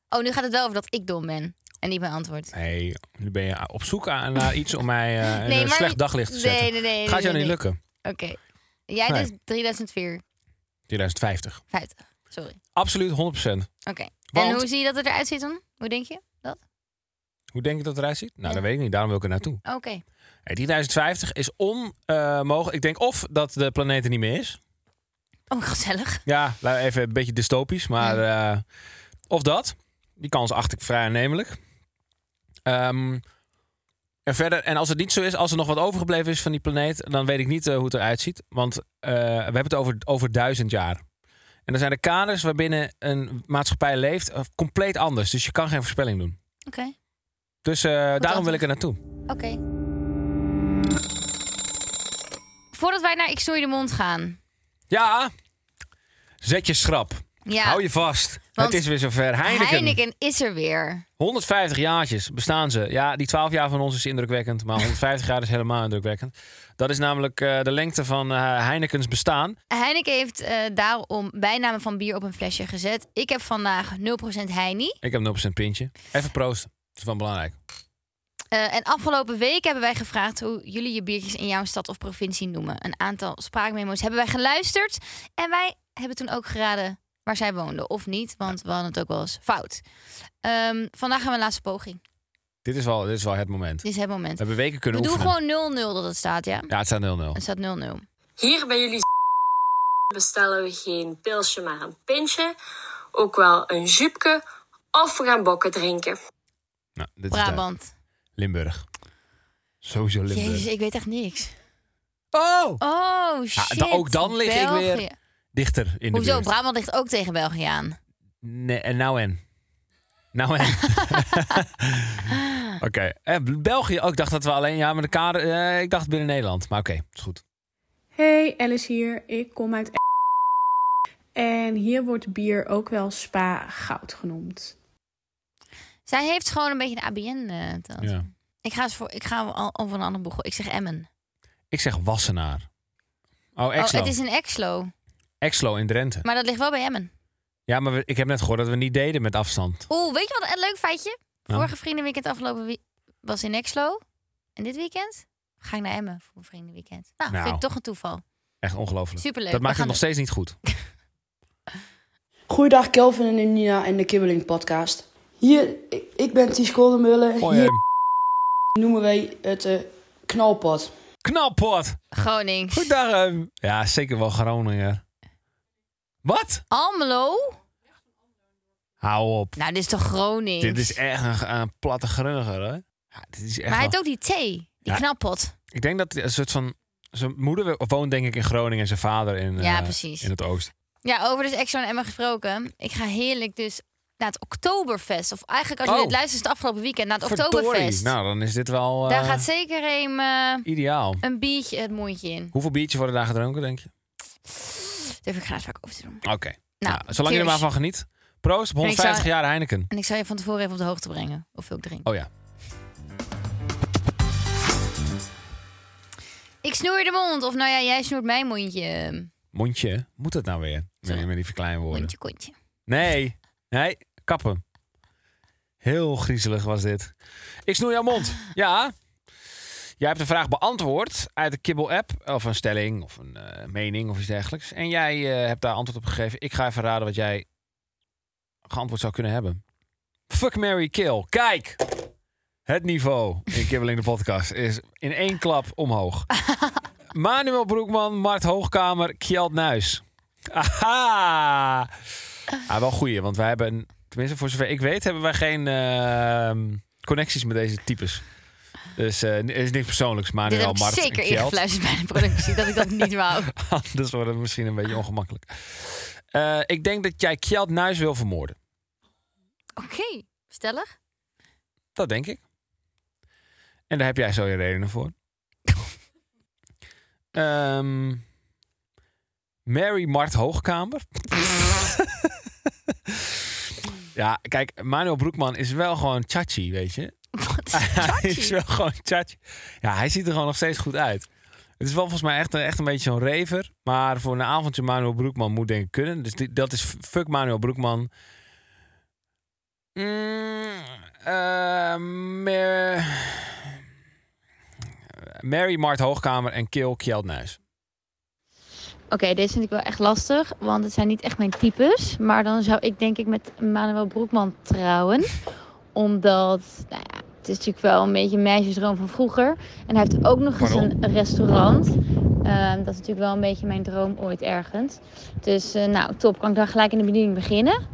S2: Oh, nu gaat het wel over dat ik dom ben en niet mijn antwoord.
S1: Nee, nu ben je op zoek aan- naar iets om mij eh, in een
S2: maar-
S1: slecht daglicht te
S2: Nee,
S1: zetten.
S2: nee, nee,
S1: Gaat jou
S2: nee,
S1: niet
S2: nee.
S1: lukken.
S2: Oké. Jij
S1: Nee.
S2: dus 3004,
S1: 2050.
S2: 50. Sorry.
S1: Absoluut 100%.
S2: Oké.
S1: Want-
S2: En hoe zie je dat het eruit ziet dan? Hoe denk je dat?
S1: Hoe denk ik dat het eruit ziet? Nou,
S2: Ja.
S1: dat weet ik niet. Daarom wil ik er naartoe.
S2: Oh, Oké.
S1: Hey, 3050 is onmogelijk. ik denk of dat de planeet er niet meer is.
S2: Oh, gezellig.
S1: Ja, laat even een beetje dystopisch, maar eh, of dat. Die kans acht ik vrij aannemelijk. Ehm, en verder, en als het niet zo is, als er nog wat overgebleven is van die planeet, dan weet ik niet eh, hoe het eruit ziet. Want eh, we hebben het over, over duizend jaar. En dan zijn de kaders waarbinnen een maatschappij leeft eh, compleet anders. Dus je kan geen voorspelling doen.
S2: Oké.
S1: Dus eh, daarom wil ik er naartoe.
S2: Oké. Voordat wij naar Ik Snoei de Mond gaan.
S1: Ja, zet je schrap.
S2: Ja,
S1: Hou je vast.
S2: Want
S1: het is weer zover. Heineken.
S2: Heineken is er weer.
S1: 150 jaartjes bestaan ze. Ja, die 12 jaar van ons is indrukwekkend, maar 150 jaar is helemaal indrukwekkend. Dat is namelijk eh, de lengte van eh Heineken's bestaan.
S2: Heineken heeft eh, daarom bijnamen van bier op een flesje gezet. Ik heb vandaag 0% Heini.
S1: Ik heb 0% printje. Even proosten. Dat is wel belangrijk.
S2: Eh, en afgelopen week hebben wij gevraagd hoe jullie je biertjes in jouw stad of provincie noemen. Een aantal spraakmemo's hebben wij geluisterd. En wij hebben toen ook geraden waar zij woonden of niet, want we hadden het ook wel eens fout. Ehm, vandaag gaan we een laatste poging.
S1: Dit is wel, dit is wel het moment. We
S2: Dit is het moment.
S1: hebben weken kunnen
S2: We doen
S1: oefenen.
S2: gewoon 0-0 dat het staat, ja?
S1: Ja, het staat 0-0.
S2: Het staat 0-0.
S3: Hier bij jullie bestellen we geen pilsje, maar een pintje. Ook wel een jupke. Of we gaan bokken drinken.
S1: Nou, dit is duidelijk.
S2: Brabant.
S1: Limburg. Sowieso Limburg.
S2: Jezus, ik weet echt niks.
S1: Oh!
S2: Oh, shit.
S1: da- ook dan lig ik weer
S2: België.
S1: Dichter in de
S2: Hoezo?
S1: buurt.
S2: Brabant ligt ook tegen België aan.
S1: Nee, en nou en? Nou en? oké. Eh, België, ook. ik dacht dat we alleen... Ja, maar de kader... eh, ik dacht binnen Nederland. Maar oké, is goed.
S4: Hey, Alice hier. Ik kom uit. E- En hier wordt bier ook wel spa goud genoemd.
S2: Zij heeft gewoon een beetje de ABN. eh, tand.
S1: Ja.
S2: ik ga, eens voor, ik ga al, over een andere boegel. Ik zeg Emmen.
S1: Ik zeg Wassenaar. Oh,
S2: Oh,
S1: Exlo.
S2: het is een Exlo.
S1: Exlo in Drenthe.
S2: Maar dat ligt wel bij Emmen.
S1: Ja, maar we- ik heb net gehoord dat we niet deden met afstand.
S2: Oeh, weet je wat een leuk feitje?
S1: Nou.
S2: Vorige vriendenweekend afgelopen wie- was in Exlo. En dit weekend ga ik naar Emmen voor een vriendenweekend. Nou,
S1: Nou.
S2: vind ik toch een toeval.
S1: Echt ongelooflijk.
S2: Superleuk.
S1: Dat
S2: We
S1: maakt het
S2: gaan
S1: nog steeds niet goed.
S5: Goeiedag Kelvin en Nina en de Kibbeling podcast.
S1: eh.
S5: Hier, ik- ik ben Ties Koldenmullen.
S1: Hoi,
S5: Hier
S1: Em.
S5: noemen wij het eh Knalpot.
S1: Knalpot.
S2: Gronings.
S1: Goedendag. ehm. Ja, zeker wel Groningen. Wat?
S2: Almelo?
S1: Hou op.
S2: Nou, dit is toch Gronings?
S1: Dit is echt een, een platte grunniger, hè? Ja, dit is echt
S2: Maar hij
S1: wel-
S2: heeft ook die thee. Die
S1: Ja.
S2: knappot.
S1: Ik denk dat hij een soort van... Zijn moeder woont denk ik in Groningen en zijn vader in,
S2: Ja,
S1: eh,
S2: precies.
S1: in het oosten.
S2: Ja, over dus Exxon en Emma gesproken. Ik ga heerlijk dus naar het Oktoberfest. Of eigenlijk als jullie
S1: Oh.
S2: het luisteren, is het afgelopen weekend naar het
S1: Verdorie.
S2: Oktoberfest.
S1: Nou, dan is dit wel eh,
S2: Daar gaat zeker een, eh,
S1: ideaal.
S2: een biertje het mondje in.
S1: Hoeveel biertjes worden daar gedronken, denk je?
S2: Daar heb ik graag vaak over te doen.
S1: Oké. Nou, zolang je er
S2: cheers.
S1: maar van geniet. Proost op
S2: En ik
S1: 150
S2: zou-
S1: jaar Heineken.
S2: En ik zal je van tevoren even op de hoogte brengen. Of ik drink.
S1: Oh ja.
S2: Ik snoer de mond. Of nou ja, jij snoert mijn mondje.
S1: Mondje, hè? moet dat nou weer? Met,
S2: Sorry.
S1: met die verkleinwoorden.
S2: Mondje, kontje.
S1: Nee, nee, kappen. Heel griezelig was dit. Ik snoer jouw mond. Ja. Jij hebt een vraag beantwoord uit de Kibbel-app. Of een stelling, of een eh, mening, of iets dergelijks. En jij eh, hebt daar antwoord op gegeven. Ik ga even raden wat jij geantwoord zou kunnen hebben. Fuck, Mary kill. Kijk! Het niveau in Kibbeling de podcast is in één klap omhoog. Manuel Broekman, Mart Hoogkamer, Kjeld Nuis. Aha! Ah, wel goeie, want wij hebben, tenminste voor zover ik weet, hebben wij geen ehm, connecties met deze types. Dus eh, er is niks persoonlijks,
S2: Dit
S1: Manuel,
S2: heb ik
S1: Mart en
S2: zeker
S1: Kjeld.
S2: ingefluisterd bij de productie. dat ik dat niet wou.
S1: Anders wordt het misschien een beetje ongemakkelijk. Eh, ik denk dat jij Kjeld Nuis wil vermoorden.
S2: Oké, stellig.
S1: Dat denk ik. En daar heb jij zo je redenen voor. Ehm, Mary Mart Hoogkamer. ja, kijk, Manuel Broekman is wel gewoon chachi, weet je.
S2: Wat
S1: Hij is
S2: is
S1: wel gewoon chachi. Ja, hij ziet er gewoon nog steeds goed uit. Het is wel volgens mij echt, echt een beetje zo'n rever. Maar voor een avondje Manuel Broekman moet denk ik kunnen. Dus die- dat is f- fuck Manuel Broekman. Mm, ehm, eh, Mary Mart Hoogkamer en Kil Kjeld Nuis.
S6: Oké, deze vind ik wel echt lastig, want het zijn niet echt mijn types. Maar dan zou ik denk ik met Manuel Broekman trouwen. Omdat, nou ja, het is natuurlijk wel een beetje een meisjesdroom van vroeger. En hij heeft ook nog eens
S1: Pardon?
S6: een restaurant. Ehm, dat is natuurlijk wel een beetje mijn droom ooit ergens. Dus eh, nou, top, kan ik dan gelijk in de bediening beginnen.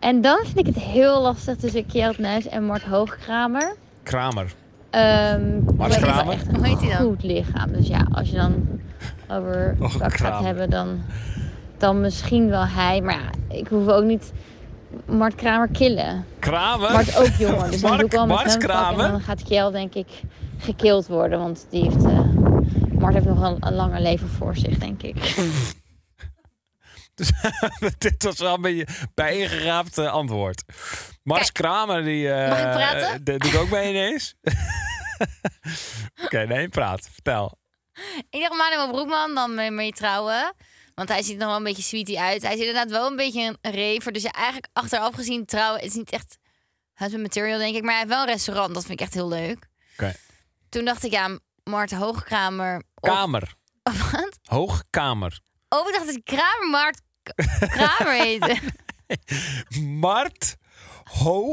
S6: En dan vind ik het heel lastig tussen Kjeld Nuis en Mart Hoogkramer.
S1: Kramer.
S6: Ehm,
S1: Mart
S6: ik heb wel
S1: Kramer?
S6: echt een
S2: Hoe heet hij dan?
S6: Goed lichaam. Dus ja, als je dan over
S1: Oh,
S6: dat gaat
S1: Kramer.
S6: hebben, dan, dan misschien wel hij. Maar ja, ik hoef ook niet Mart Kramer killen.
S1: Kramer?
S6: Mart ook jonger, dus dan
S1: Mark-
S6: doe ik wel met
S1: Mart
S6: hem pakken.
S1: Kramer?
S6: En dan gaat Kjell denk ik gekild worden, want die heeft... eh, Mart heeft nog een, een langer leven voor zich, denk ik.
S1: Dus, dit was wel een beetje bijeengeraapt eh, antwoord. Mars
S2: Kijk.
S1: Kramer, die... eh,
S2: Mag ik praten?
S1: eh, doet ook mee ineens. Oké, nee, praat. Vertel.
S2: Ik dacht Manuel Broekman dan mee, mee trouwen. Want hij ziet er nog wel een beetje sweetie uit. Hij is inderdaad wel een beetje een rever. Dus ja, eigenlijk achteraf gezien trouwen is niet echt husband material, denk ik. Maar hij heeft wel een restaurant. Dat vind ik echt heel leuk.
S1: Oké.
S2: Toen dacht ik, ja, Maarten Hoogkramer. Of,
S1: Kamer.
S2: of wat?
S1: Hoogkamer.
S2: Oh, ik dacht dat ik Kramer Maart Kramer heette.
S1: Mart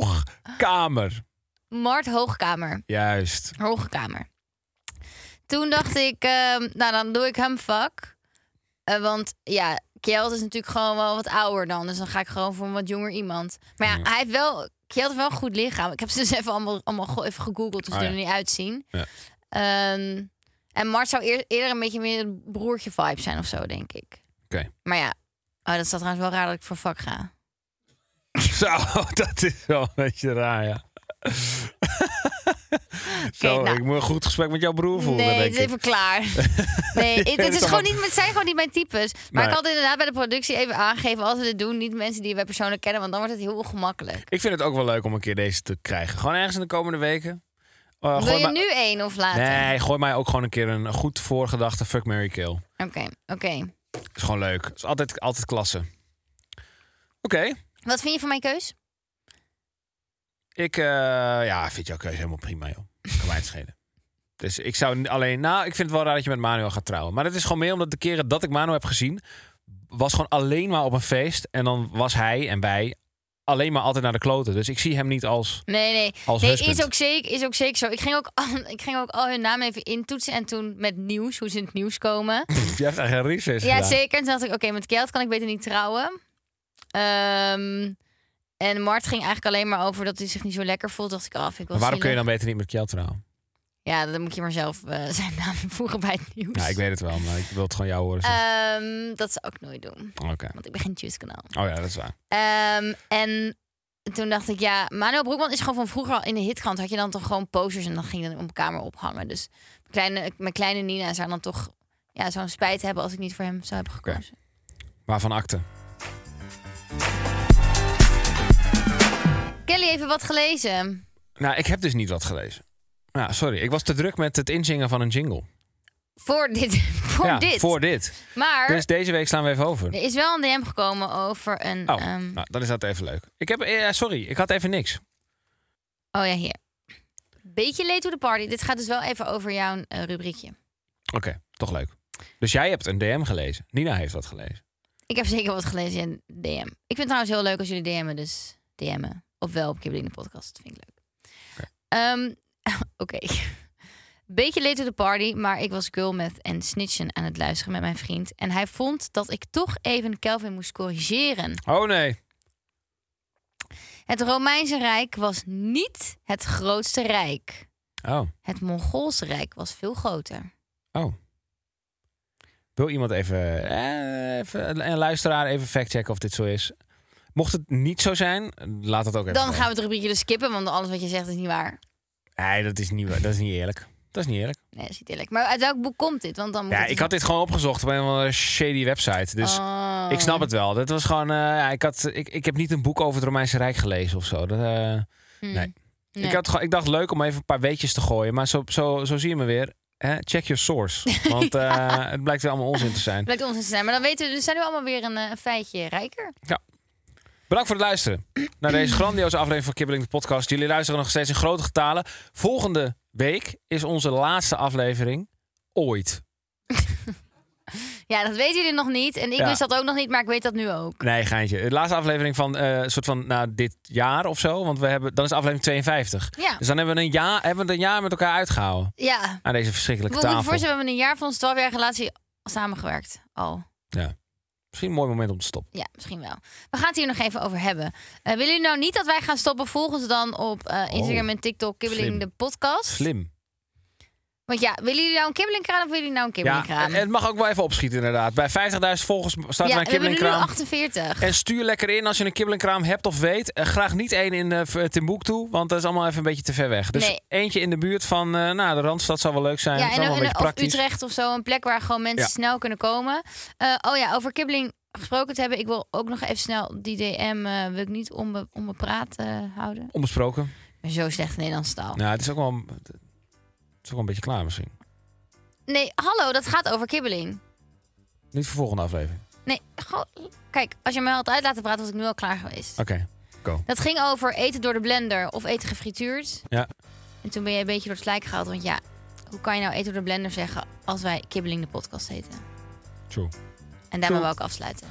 S1: Hoogkamer.
S2: Mart Hoogkamer.
S1: Juist.
S2: Hoogkamer. Toen dacht ik, ehm, nou dan doe ik hem vak. Eh, want ja, Kjeld is natuurlijk gewoon wel wat ouder dan. Dus dan ga ik gewoon voor een wat jonger iemand. Maar ja, hij heeft wel... Kjeld heeft wel een goed lichaam. Ik heb ze dus even allemaal, allemaal go- even gegoogeld hoe ze
S1: Ah,
S2: er
S1: ja.
S2: niet uitzien.
S1: Ja.
S2: Ehm, en Mart zou eer- eerder een beetje meer een broertje vibe zijn of zo, denk ik.
S1: Oké.
S2: Maar ja, oh, dat staat trouwens wel raar dat ik voor vak ga.
S1: Zo, dat is wel een beetje raar, ja. Zo,
S2: nou.
S1: ik moet een goed gesprek met jouw broer voeren,
S2: Nee,
S1: denk
S2: het is
S1: ik.
S2: even klaar. Nee, het, het is gewoon niet, het zijn gewoon niet mijn types. Maar
S1: Nee.
S2: ik had inderdaad bij de productie even aangegeven... als we dit doen, niet mensen die wij persoonlijk kennen... want dan wordt het heel ongemakkelijk.
S1: Ik vind het ook wel leuk om een keer deze te krijgen. Gewoon ergens in de komende weken. Eh,
S2: Wil
S1: gooi
S2: je
S1: maar-
S2: nu één of later?
S1: Nee, gooi mij ook gewoon een keer een goed voorgedachte fuck, Mary kill.
S2: Oké, oké.
S1: Is gewoon leuk. Is altijd, altijd klasse. Oké,
S2: Wat vind je van mijn keus?
S1: ik eh, ja, vind jouw keuze helemaal prima, joh. Kan mij het schelen. Dus ik zou n- alleen... Nou, ik vind het wel raar dat je met Manuel gaat trouwen. Maar dat is gewoon meer omdat de keren dat ik Manuel heb gezien... was gewoon alleen maar op een feest. En dan was hij en wij alleen maar altijd naar de kloten. Dus ik zie hem niet als...
S2: Nee, nee.
S1: Als
S2: nee
S1: husband.
S2: is, ook zeker, is ook zeker zo. Ik ging ook, al, ik ging ook al hun naam even intoetsen. En toen met nieuws, hoe ze in het nieuws komen.
S1: Je hebt echt een research
S2: ja,
S1: gedaan.
S2: zeker. En toen dacht ik, oké, met Kjeld kan ik beter niet trouwen. Ehm, en Mart ging eigenlijk alleen maar over dat hij zich niet zo lekker voelt. Dacht ik, af. ik wel
S1: Maar waarom kun je
S2: zielig.
S1: dan beter niet met Kjeld trouwen?
S2: Ja, dan moet je maar zelf eh, zijn naam voegen bij het nieuws.
S1: Ja, ik weet het wel, maar ik wil het gewoon jou horen zeggen.
S2: Ehm, dat zou ik nooit doen.
S1: Oké.
S2: Want ik ben geen Juice-kanaal.
S1: Oh ja, dat is waar.
S2: Ehm, en toen dacht ik, ja, Manuel Broekman is gewoon van vroeger al in de hitkrant. Had je dan toch gewoon posters en dan ging je dan op kamer ophangen. Dus mijn kleine, mijn kleine Nina zou dan toch ja, zo'n spijt hebben als ik niet voor hem zou hebben gekozen.
S1: Waarvan akte?
S2: Kelly, even wat gelezen.
S1: Nou, ik heb dus niet wat gelezen. Nou, sorry. Ik was te druk met het inzingen van een jingle.
S2: Voor dit. Voor
S1: ja,
S2: dit.
S1: voor dit.
S2: Maar
S1: Dus deze week slaan we even over.
S2: er is wel een DM gekomen over een.
S1: Oh,
S2: ehm,
S1: nou, dan is dat even leuk. Ik heb, eh, sorry, ik had even niks.
S2: oh ja, hier. Beetje late to the party. Dit gaat dus wel even over jouw eh, rubriekje.
S1: Oké, toch leuk. Dus jij hebt een DM gelezen. Nina heeft wat gelezen.
S2: Ik heb zeker wat gelezen in DM. Ik vind het trouwens heel leuk als jullie DM'en, dus DM'en. Of wel op Kibbeling de podcast, vind ik leuk. Ehm, Oké. Beetje late to the party, maar ik was Girlmeth en Snitchen aan het luisteren met mijn vriend. En hij vond dat ik toch even Kelvin moest corrigeren.
S1: Oh nee.
S2: Het Romeinse Rijk was niet het grootste rijk.
S1: Oh,
S2: Het Mongoolse Rijk was veel groter.
S1: oh. Wil iemand even, eh, even een luisteraar even factchecken of dit zo is? Mocht het niet zo zijn, laat het ook even.
S2: Dan gaan we het rubriekje dus skippen, want alles wat je zegt is niet waar.
S1: Nee, dat is niet, wa- dat is niet eerlijk. Dat is niet eerlijk.
S2: Nee, dat is niet eerlijk. Maar uit welk boek komt dit? Want dan moet
S1: Ja,
S2: het
S1: ik
S2: dus-
S1: had dit gewoon opgezocht op een of andere shady website. Dus
S2: Oh.
S1: ik snap het wel. Dat was gewoon. eh, ja, ik, had, ik, ik heb niet een boek over het Romeinse Rijk gelezen of zo. Dat, eh,
S2: Hmm.
S1: nee.
S2: Nee.
S1: Ik, had, gewoon- ik dacht leuk om even een paar weetjes te gooien. Maar zo, zo, zo zie je me weer. Hè? Check your source. Want eh, het blijkt weer allemaal onzin te zijn.
S2: Blijkt ons te zijn. Maar dan weten we, dus zijn we allemaal weer een, eh, een feitje rijker.
S1: Bedankt voor het luisteren naar deze grandioze aflevering van Kibbeling de Podcast. Jullie luisteren nog steeds in grote getalen. Volgende week is onze laatste aflevering ooit.
S2: Ja, dat weten jullie nog niet. En ik
S1: Ja.
S2: wist dat ook nog niet, maar ik weet dat nu ook.
S1: Nee, geintje. De laatste aflevering van eh soort van nou, dit jaar of zo. Want we hebben, dan is aflevering 52.
S2: Ja.
S1: Dus dan hebben we, een jaar, hebben we het een jaar met elkaar uitgehouden.
S2: Ja.
S1: Aan deze
S2: Ik
S1: verschrikkelijke
S2: moet me
S1: tafel.
S2: voorstellen, we hebben een jaar van onze 12-jarige relatie samengewerkt. Al.
S1: Misschien een mooi moment om te stoppen.
S2: Ja, misschien wel. We gaan het hier nog even over hebben. Eh, willen jullie nou niet dat wij gaan stoppen? Volg ons dan op eh, Instagram
S1: Oh,
S2: en TikTok, Kibbeling
S1: slim.
S2: de podcast.
S1: Slim.
S2: Want ja, willen jullie nou een kibbelingkraam of willen jullie nou een
S1: Ja,
S2: kibbelingkraam?
S1: en het mag ook wel even opschieten inderdaad. Bij 50.000 volgers staat er
S2: Ja,
S1: een
S2: we hebben er nu
S1: kibbelingkraam.
S2: 48.
S1: En stuur lekker in als je een kibbelingkraam hebt of weet. Eh, graag niet één in eh Timbuktu, want dat is allemaal even een beetje te ver weg. Dus
S2: Nee.
S1: eentje in de buurt van eh, nou, de Randstad zou wel leuk zijn.
S2: Ja,
S1: Dat is
S2: en
S1: allemaal
S2: ook
S1: een
S2: in,
S1: beetje
S2: of
S1: praktisch.
S2: Utrecht of zo, een plek waar gewoon mensen
S1: Ja.
S2: snel kunnen komen. Eh, oh ja, over kibbeling gesproken te hebben. Ik wil ook nog even snel die DM, eh, wil ik niet onbe, onbepraat eh, houden.
S1: Onbesproken.
S2: Ik ben zo slecht in Nederlandse taal.
S1: Nou, het is ook wel, een- het is ook wel een beetje klaar misschien.
S2: Nee, hallo, dat gaat over kibbeling.
S1: Niet voor volgende aflevering.
S2: Nee, gewoon- kijk, als je mij had uit laten praten, was ik nu al klaar geweest.
S1: Oké.
S2: Dat ging over eten door de blender of eten gefrituurd.
S1: Ja.
S2: En toen ben je een beetje door het slijk gehaald. Want ja, hoe kan je nou eten door de blender zeggen als wij Kibbeling de podcast heten?
S1: True.
S2: En daarmee wil ik afsluiten.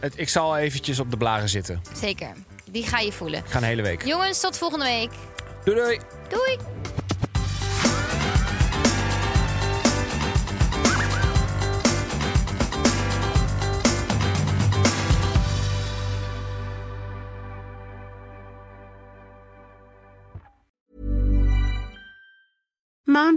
S1: Het, ik zal eventjes op de blagen zitten.
S2: Zeker, die ga je voelen.
S1: Ik ga een hele week.
S2: Jongens, tot volgende week.
S1: Doei doei!
S2: Doei!
S7: Mom